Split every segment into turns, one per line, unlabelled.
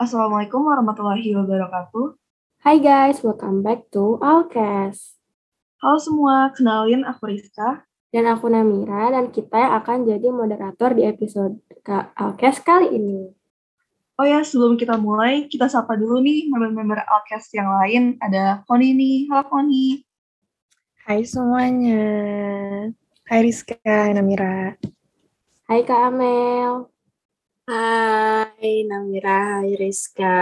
Assalamualaikum warahmatullahi wabarakatuh.
Hai guys, welcome back to Alkes.
Halo semua, kenalin aku Rizka.
Dan aku Namira, dan kita yang akan jadi moderator di episode Ka- Alkes kali ini.
Oh ya, sebelum kita mulai, kita sapa dulu nih member-member Alkes yang lain. Ada Koni nih. Halo Koni.
Hai semuanya. Hai Rizka, hai Namira.
Hai Kak Amel.
Hai Namira, hai Rizka.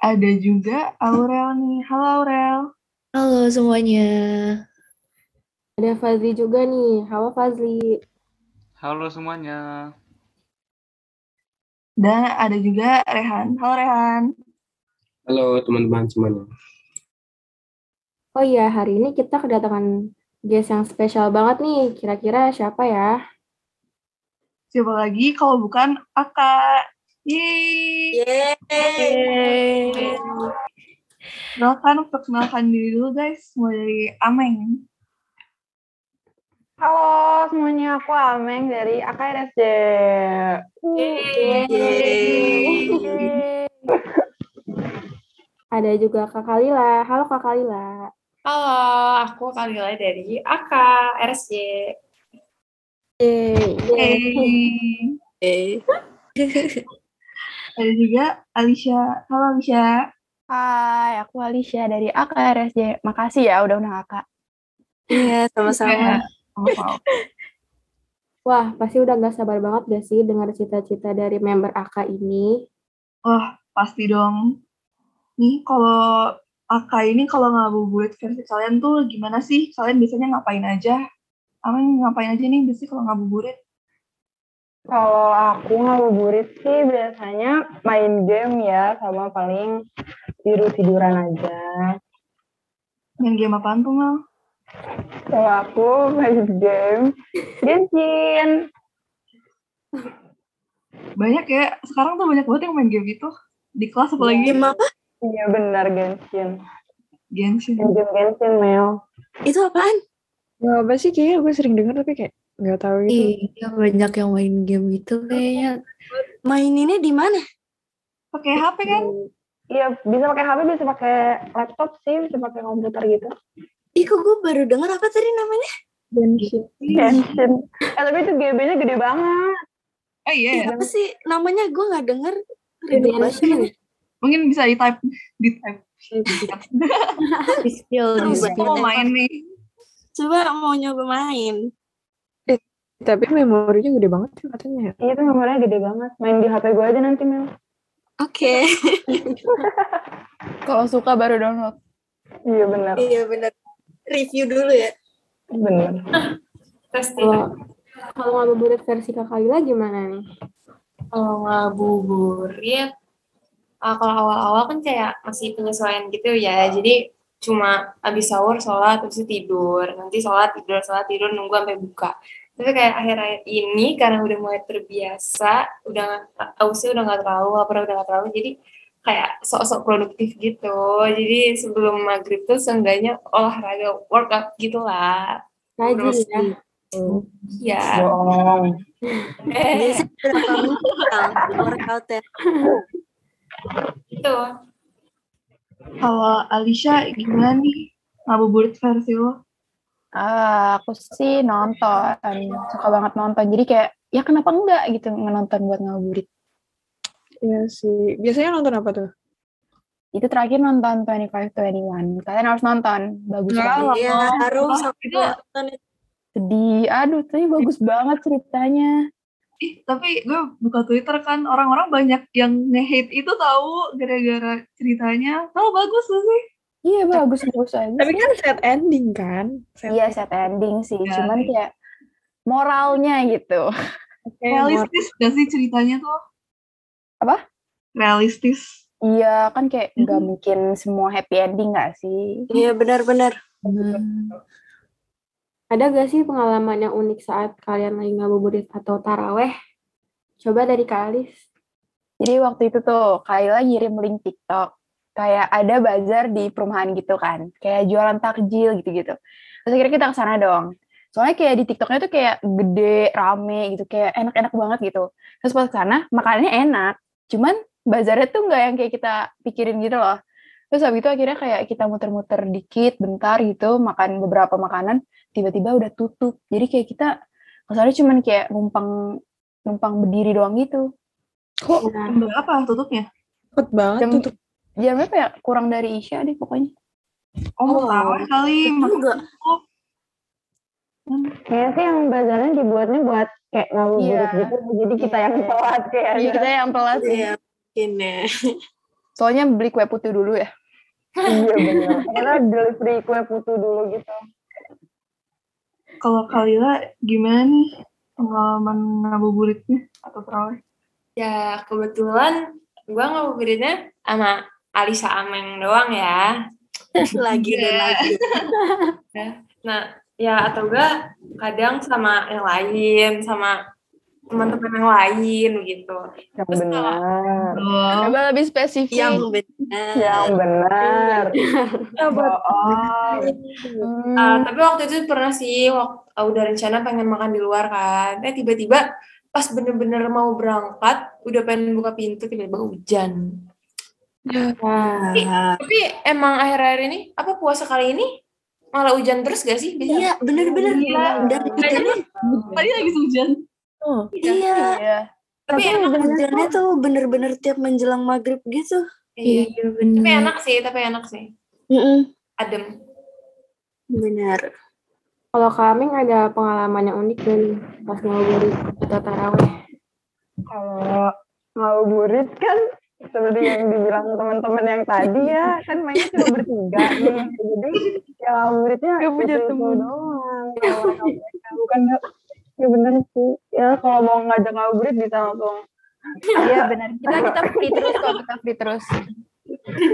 Ada juga Aurel nih. Halo Aurel.
Halo semuanya.
Ada Fazli juga nih. Halo Fazli.
Halo semuanya.
Dan ada juga Rehan. Halo Rehan.
Halo teman-teman semuanya.
Oh iya, hari ini kita kedatangan guest yang spesial banget nih. Kira-kira siapa ya?
Siapa lagi kalau bukan Aka. Yeay.
Yeay.
Silakan perkenalkan diri dulu guys. Mulai dari Ameng.
Halo semuanya, aku Ameng dari AKRSJ.
Ada juga Kak Kalila. Halo Kak Kalila.
Halo, aku Kalila dari AK RSJ.
Yeay.
Yeay.
Ada juga Alicia. Halo Alicia.
Hai, aku Alicia dari AKRSJ. Makasih ya udah undang Kak.
Iya, sama-sama.
Sama-sama.
Wah, pasti udah gak sabar banget gak sih dengar cita-cita dari member Aka ini?
pasti dong. Nih kalau Aka ini kalau ngabuburit versi kalian tuh gimana sih? Kalian biasanya ngapain aja? Amin ngapain aja nih biasanya kalau ngabuburit?
Kalau aku ngabuburit sih biasanya main game ya sama paling tidur-tiduran aja.
Main game apaan tuh Mel?
Kalau aku main game, Genshin.
Banyak ya. Sekarang tuh banyak banget yang main game itu. Di kelas apalagi
Emang
Iya benar Genshin.
Genshin.
Main game Genshin, Mel.
itu apaan?
Gak apa sih kayaknya gue sering dengar tapi kayak nggak tahu gitu.
Iya, banyak yang main game gitu kayaknya.
Maininnya di mana?
Pakai HP kan?
Iya, bisa pakai HP, bisa pakai laptop sih, bisa pakai komputer gitu.
Ih, kok gue baru dengar apa tadi namanya? Iya.
Genshin. Eh, tapi itu GB-nya gede banget.
Oh iya ya.
Ih, apa sih namanya? Gue nggak denger. Ribet banget.
Genshin.
Mungkin bisa di type di type.
Skill
Iya.
Aku mau main nih.
Coba mau nyoba main.
Tapi memorinya gede banget sih katanya.
Iya, itu nomornya gede banget. Main di HP gue aja nanti, Mel.
Oke.
Kalau suka baru download.
Iya, benar.
Iya benar. Review dulu ya.
Benar.
Kalau kalau ngabuburit versi Kak Kalila gimana nih?
Kalau ngabuburit, uh, kalau awal-awal kan kayak masih penyesuaian gitu ya. Jadi cuma abis sahur sholat terus tidur, nanti sholat tidur sholat tidur nunggu sampai buka. Tapi kayak akhir-akhir ini karena udah mulai terbiasa, udah nggak- ausnya udah nggak terlalu lapar udah nggak terlalu, jadi kayak sok-sok produktif gitu. Jadi sebelum maghrib tuh seenggaknya olahraga workout gitulah.
Rajin ya.
Iya.
Bohong.
Eh,
Biasanya berapa mental workoutnya?
Gitu.
Kalau Alicia gimana nih? Ngabuburit versi lo?
Ah, aku sih nonton, suka banget nonton. Jadi kayak ya kenapa enggak gitu nonton buat ngabuburit.
Iya sih. Biasanya nonton apa tuh?
Itu terakhir nonton 2521. Kalian harus nonton. Bagus banget.
Iya, harus
Wah,
sampai
itu
nonton itu.
Sedih. Aduh, tapi bagus banget ceritanya.
Ih, tapi gue buka Twitter kan orang-orang banyak yang nge-hate itu tahu gara-gara ceritanya. Tahu bagus gak sih?
Iya, bagus bagus aja.
Tapi kan sad ending kan? Sad
Iya, set ending sih.
Ya.
Cuman kayak moralnya gitu.
Realistis gak sih ceritanya tuh?
Apa?
Realistis.
Iya, kan kayak nggak mungkin semua happy ending nggak sih?
Iya benar-benar.
Ada gak sih pengalaman yang unik saat kalian lagi ngabuburit atau taraweh? Coba dari Kak Alis.
Jadi waktu itu tuh Kaila ngirim link TikTok. Kayak ada bazar di perumahan gitu kan. Kayak jualan takjil gitu-gitu. Terus akhirnya kita kesana dong. Soalnya kayak di TikToknya tuh kayak gede, rame gitu. Kayak enak-enak banget gitu. Terus pas kesana makanannya enak. Cuman bazarnya tuh nggak yang kayak kita pikirin gitu loh. Terus habis itu akhirnya kayak kita muter-muter dikit, bentar gitu, makan beberapa makanan, tiba-tiba udah tutup. Jadi kayak kita kesannya cuman kayak numpang numpang berdiri doang gitu.
Kok
Nah,
Berapa tutupnya?
cepet banget
Jam-
tutup.
Jam berapa ya? Kurang dari Isya deh pokoknya.
Oh, mau tawar kali.
Itu juga.
Kayaknya sih yang bazarnya dibuatnya buat kayak ngabuburit
Iya.
gitu. Jadi kita yang
Iya.
telat kayak.
Iya, kita yang pelat.
Iya, mungkin ya.
Soalnya beli kue putu dulu ya.
Iya benar. Karena delivery kue putu dulu gitu.
Kalau Kalila gimana nih pengalaman ngabuburitnya atau terawih?
Ya, kebetulan gue ngabuburitnya sama Alisa Ameng doang ya. lagi dan lagi. nah, ya atau enggak kadang sama yang lain, sama teman-teman yang lain gitu.
Yang
Terus kalau-
benar.
Oh,
Coba lebih spesifik.
Iya,
Yang benar. Bohong.
Hmm.
Uh, eh, tapi waktu itu pernah sih waktu udah rencana pengen makan di luar kan. Eh tiba-tiba pas bener-bener mau berangkat, udah pengen buka pintu tiba-tiba hujan.
Iya.
Nah,
Tapi emang akhir-akhir ini apa puasa kali ini malah hujan terus gak sih? Biasanya
iya Nah, kan bener-bener
Iya.
dan hujannya
Tadi lagi hujan.
iya
Iya.
tapi enak,
hujannya tuh bener-bener tiap menjelang maghrib gitu
iya.
Iya
Tapi
benar.
enak sih, tapi enak sih.
Mm-mm,
Adem.
bener
Kalau kami ada pengalaman yang unik nih pas ngabuburit atau taraweh.
Kalau ngabuburit kan seperti yang dibilang teman-teman yang tadi ya kan mainnya cuma bertiga nih. Jadi ya ngabuburitnya
Gak punya
itu-itu
teman.
doang. Ya, Kalau ngabuburit kan Bukan nggak- ya benar sih. Ya kalau mau ngajak ngabuburit bisa langsung
Iya benar. Kita kita free terus kok, kita free terus.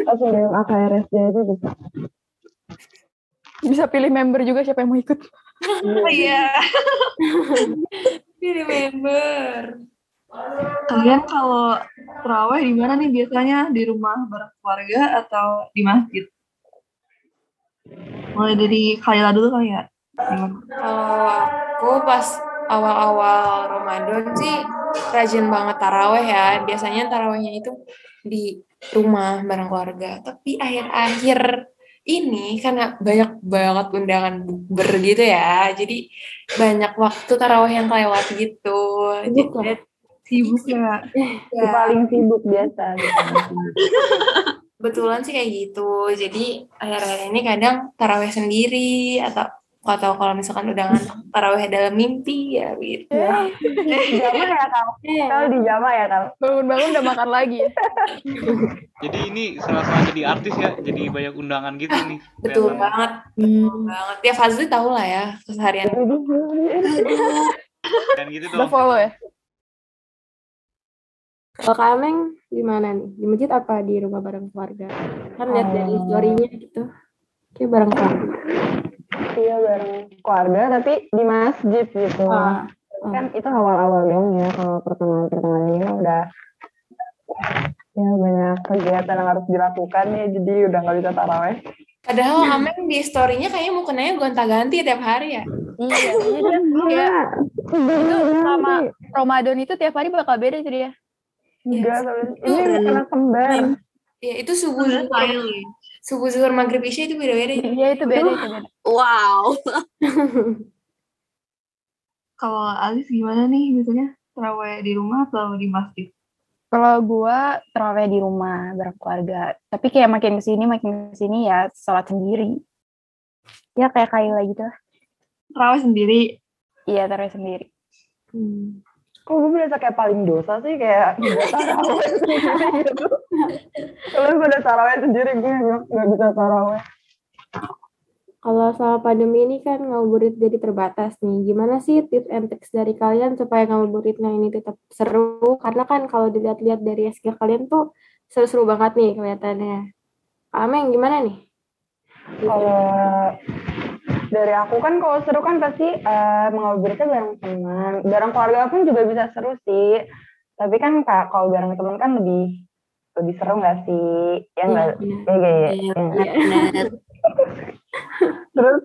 langsung DM AKRSJ itu bisa.
Bisa pilih member juga siapa yang mau ikut.
Oh iya.
Di remember.
Kalian kalau terawih di mana nih biasanya? Di rumah bareng keluarga atau di masjid? Mulai dari Kalila dulu kali ya. Gimana?
Kalau aku pas awal-awal Ramadan sih rajin banget taraweh ya. Biasanya tarawehnya itu di rumah bareng keluarga. Tapi akhir-akhir ini karena banyak banget undangan bukber gitu ya. Jadi banyak waktu taraweh yang kelewat gitu.
Sibuk
Jadi,
Sibuk ya.
ya,
Paling sibuk biasa.
Betulan sih kayak gitu. Jadi akhir-akhir ini kadang taraweh sendiri atau atau kalau misalkan undangan taraweh dalam mimpi ya gitu.
Di Jama ya kalau kalau di Jama ya kalau.
Bangun-bangun udah makan lagi. ya.
Jadi ini salah-salah jadi artis ya, jadi banyak undangan gitu nih.
Betul
kelihatan.
banget,
Hmm.
betul banget. Ya Fazli tahu lah ya keseharian.
Dan gitu
Udah
dong.
follow ya.
Kalau Kameng gimana nih? Di masjid apa di rumah bareng keluarga? Kan lihat dari
Oh.
story-nya gitu. Kayak bareng keluarga.
Iya bareng keluarga tapi di masjid gitu.
Ah,
Kan itu awal-awal dong ya kalau pertengahan-pertengahan ini kan udah ya banyak kegiatan yang harus dilakukan ya jadi udah nggak bisa taraweh.
Padahal Ameng di story-nya kayaknya mukanya gonta-ganti tiap hari ya.
Iya. Iya.
Iya.
Itu sama Ramadan itu tiap hari bakal beda jadi ya.
Enggak, soalnya- ini anak kembar.
Ya itu subuh zuhur, subuh zuhur maghrib isya itu beda-beda.
Iya itu beda itu beda.
wow
Kalau Alis gimana nih biasanya? Terawih di rumah atau di masjid?
Kalau gua terawih di rumah berkeluarga, tapi kayak makin kesini makin kesini ya sholat sendiri. Ya kayak Kayla gitu. lah.
Terawih sendiri.
Iya terawih sendiri.
Hmm.
Kok gue berasa kayak paling dosa sih kayak nggak taraweh sendiri gitu. Soalnya gue udah taraweh sendiri gue nggak nggak bisa taraweh.
Kalau selama pandemi ini kan ngabuburit jadi terbatas nih. Gimana sih tips and tricks dari kalian supaya ngabuburitnya ini tetap seru? Karena kan kalau dilihat-lihat dari SG kalian tuh seru-seru banget nih kelihatannya. Kameng gimana nih?
Kalau dari aku kan kalau seru kan pasti eh, mengabuburitnya bareng teman. Bareng keluarga pun juga bisa seru sih. Tapi kan kak kalau bareng teman kan lebih lebih seru nggak sih? Ya nggak.
Iya.
Ya, ya, ya, ya.
bener
Terus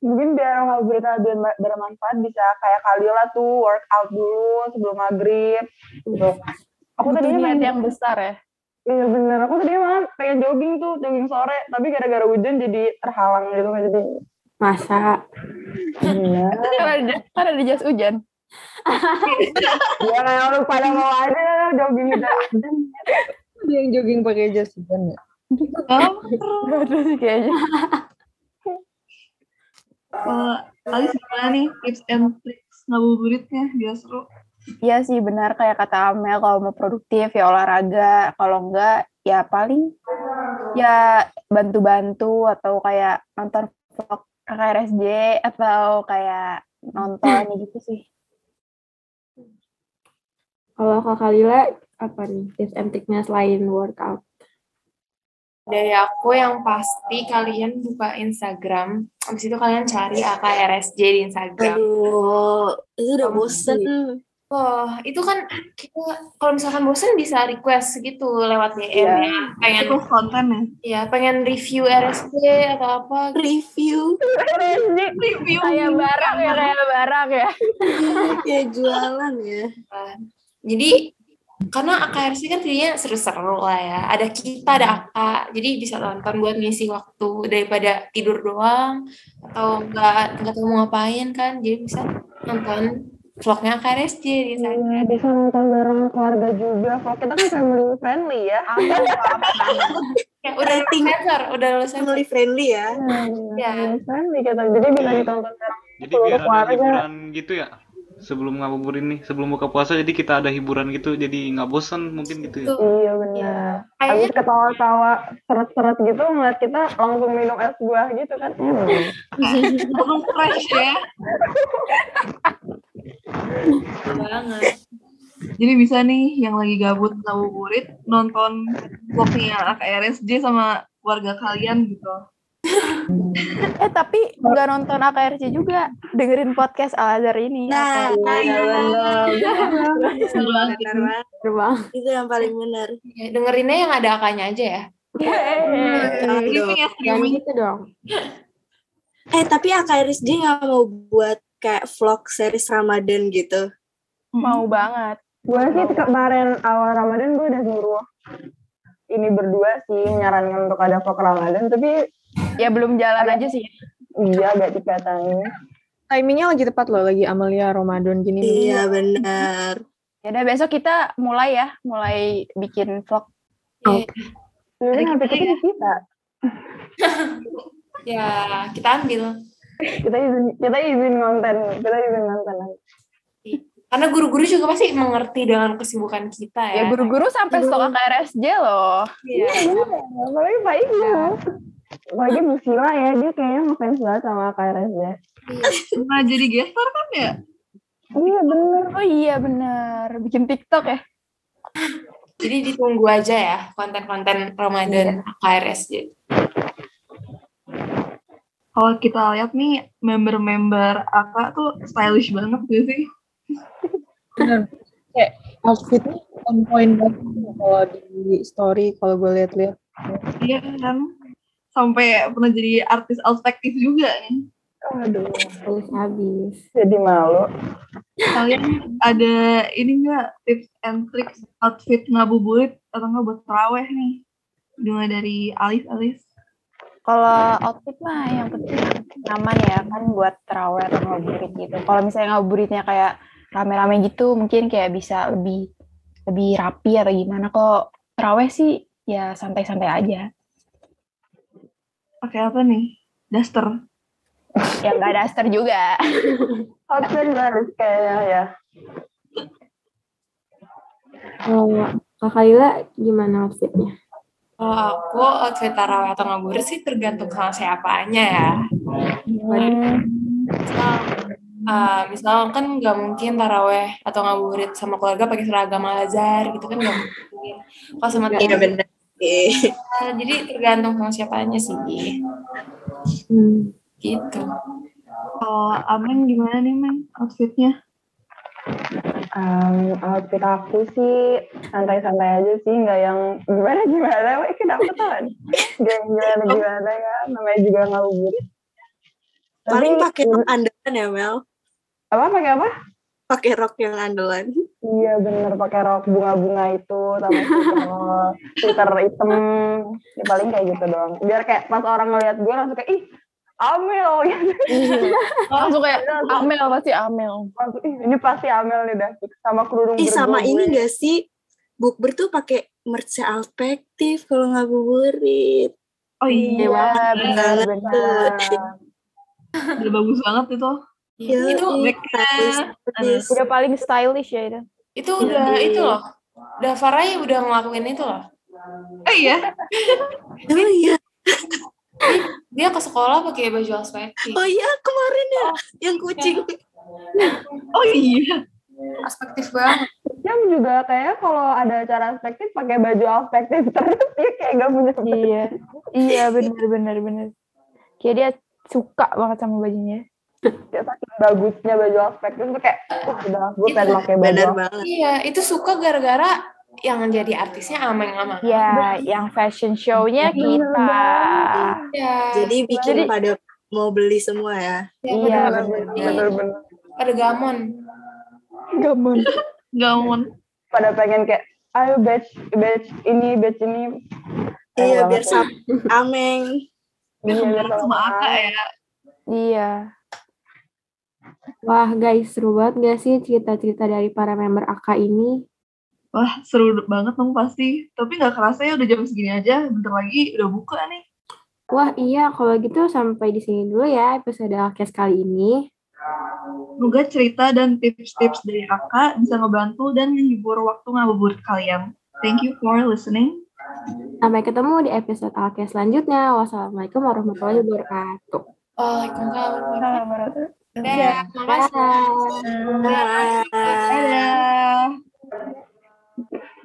mungkin biar ngabuburitnya biar ma- bermanfaat bisa kayak Kalila tuh workout dulu sebelum maghrib. Gitu. Aku
Butuh
tadinya
niat
main
yang besar ya.
Iya bener, aku tadi malam pengen jogging tuh, jogging sore, tapi gara-gara hujan jadi terhalang gitu kan jadi.
Masa?
Iya.
Kan ada, kan ada jas hujan.
Ya orang pada mau ada jogging udah.
Dia yang jogging pakai jas hujan ya?
Gak ada sih kayaknya.
Kalau Alis gimana nih tips and tricks ngabuburitnya biar seru.
Iya sih benar kayak kata Amel kalau mau produktif ya olahraga, kalau enggak ya paling ya bantu-bantu atau kayak nonton vlog KRSJ atau kayak nonton gitu sih.
Kalau Kakak Lila, apa nih tips and triknya selain workout?
Dari aku yang pasti kalian buka Instagram, habis itu kalian cari AKRSJ di Instagram.
Aduh, itu udah bosen.
Loh, itu kan kita kalau misalkan bosen bisa request gitu lewat DM
Iya.
ya. Pengen
Itu konten ya.
ya, pengen review RSJ atau apa gitu.
Review,
KRSJ
Review.
kayak barang ya, kayak barang ya.
kayak jualan ya.
kan. Jadi karena AKRC kan jadinya seru-seru lah ya. Ada kita, ada AK. Jadi bisa nonton buat ngisi waktu daripada tidur doang atau nggak nggak tahu mau ngapain kan. Jadi bisa nonton vlognya AKRSJ di sana.
Iya, bisa nonton bareng keluarga juga. Kalau kita kan family friendly ya.
Ya, udah lulus
Rating.
sensor, udah lulus sensor.
Family friendly ya.
Iya.
Family friendly kita. Jadi bisa
Iya.
ditonton bareng.
Jadi biar
Keluarga.
ada hiburan gitu ya. Sebelum ngabuburin nih, sebelum buka puasa jadi kita ada hiburan gitu. Jadi nggak bosan mungkin gitu ya.
Tuh.
Iya benar. Habis
Kayaknya
ketawa-tawa seret-seret gitu ngeliat kita langsung minum es buah gitu kan. Hmm.
Belum fresh ya.
seru banget.
Jadi bisa nih yang lagi gabut ngabuburit nonton vlognya AKRSJ sama keluarga kalian gitu.
Eh tapi nggak nonton AKRC juga, dengerin podcast Al Azhar ini.
Nah,
AKRC.
nah, iya,
Seru banget.
benar banget.
Terbang.
Itu yang paling benar.
Ya, dengerinnya yang ada akanya aja ya.
Iya,
Eh,
Streaming ya
Jangan
streaming.
gitu dong.
Eh, tapi AKRSJ nggak mau buat kayak vlog series Ramadan gitu.
Mau banget.
Gue sih kemarin awal Ramadan gue udah suruh ini berdua sih menyarankan untuk ada vlog Ramadan tapi
Ya belum jalan aja sih.
iya agak dikatakan
Timingnya lagi tepat loh, lagi Amalia Ramadan gini.
Iya, benar.
Ya udah besok kita mulai ya, mulai bikin vlog. Iya.
Jadi nggak pikir Ya kita
Ya, kita ambil.
kita izin kita izin konten kita izin konten
Karena guru-guru juga pasti mengerti dengan kesibukan kita ya.
Ya guru-guru sampai stok KRSJ loh. Iya.
Iya.
apalagi Pak Iqbal apalagi Bu Sila ya dia kayaknya ngefans banget sama KRSD
Pernah jadi gestar kan ya?
iya bener
Oh iya benar, bikin TikTok ya.
Jadi ditunggu aja ya konten-konten Ramadan AKRSJ.
Kalau kita lihat nih member-member AK tuh stylish banget gak sih?
Outfitnya on point banget kalau di story, kalau gue lihat-lihat.
Iya kan? Sampai pernah jadi artis alternatif juga nih.
aduh
Terus habis.
jadi malu
Kalian ada ini enggak tips and tricks outfit ngabuburit atau enggak buat terawih nih? Mulai dari Alis Alis.
Kalau outfit mah yang penting nyaman ya kan buat terawih atau ngabuburit gitu. Kalau misalnya ngabuburitnya kayak rame-rame gitu mungkin kayak bisa lebih lebih rapi atau gimana. Kalau terawih sih ya santai-santai aja.
Pakai apa nih? Duster.
Yang gak daster juga.
outfit baru kayaknya ya
Kalau Kakak Lila gimana outfitnya?
Kalau aku outfit tarawih atau ngabuburit sih tergantung sama siapanya ya. Misal, eh, misal kan nggak mungkin taraweh atau ngabuburit sama keluarga pakai seragam al azhar gitu kan nggak mungkin. Kalau sama
Iya,
teman,
benar. Oke.
jadi tergantung sama siapanya sih.
Hmm.
Gitu.
Kalau Ameng gimana nih Meng outfitnya?
Em, outfit aku sih santai-santai aja sih, nggak yang gimana gimana. Wah, kenapa tuh? Gak yang gimana gimana ya, namanya juga ngabuburit. Tapi
Paling pakai rok andalan ya, Mel.
apa pakai apa?
Pakai rok yang andalan.
Iya bener pakai rok bunga-bunga itu sama sweater- sweater hitam. Ya, paling kayak gitu doang. Biar kayak pas orang ngeliat gue langsung kayak ih Amel gitu.
Iya.
Langsung kayak Amel pasti Amel.
Langsung, ih, ini pasti Amel nih dah sama kerudung
Ih sama
berbumbu
ini gak sih bukber tuh pakai merce alpektif kalau ngabuburit.
Oh iya,
Iya,
benar
bener,
benar. Udah bagus banget itu.
Iya,
itu
iya, bagus, bagus.
udah
paling stylish ya itu.
Itu udah
Iya.
itu loh. Udah Farai udah ngelakuin itu loh.
Oh iya.
Oh iya.
Dia ke sekolah pakai baju aspektif.
Oh iya kemarin ya yang kucing.
Oh iya.
Aspektif banget.
Jam juga kayak kalau ada acara aspektif pakai baju aspektif terus ya kayak gak punya
Iya. Iya bener bener bener. Kayak dia suka banget sama bajunya.
Kayak saking bagusnya baju aspektif tuh kayak uh, udah gue pengen pakai baju
Bener
aspektif.
banget.
Iya, itu suka gara-gara yang jadi artisnya ameng-ameng.
Ya, yang fashion show-nya
Iya, Bener
kita.
Iya.
Jadi bikin
Jadi-
pada mau beli semua ya.
Iya,
bener-bener. Bener-bener.
Pada gamon.
Gamon.
Iya,
Gaun.
Pada pengen kayak ayo batch batch ini batch ini.
Iya biar
Pengen banget.
sama ameng.
Iya, biar
Sama
sama.
Aka ya.
Iya.
Wah guys, seru banget gak sih cerita-cerita dari para member AK ini?
Wah, seru banget dong pasti. Tapi nggak kerasa ya udah jam segini aja. Bentar lagi udah buka nih.
Wah iya, kalau gitu sampai di sini dulu ya episode Alkes kali ini.
Semoga cerita dan tips-tips dari Aka bisa ngebantu dan menghibur waktu ngabuburit kalian. Thank you for listening.
Sampai ketemu di episode Alkes selanjutnya. Wassalamualaikum warahmatullahi wabarakatuh.
Oh, Waalaikumsalam.
Nah, menurut-
Dadah, Iya, makasih.
Bye.
Bye.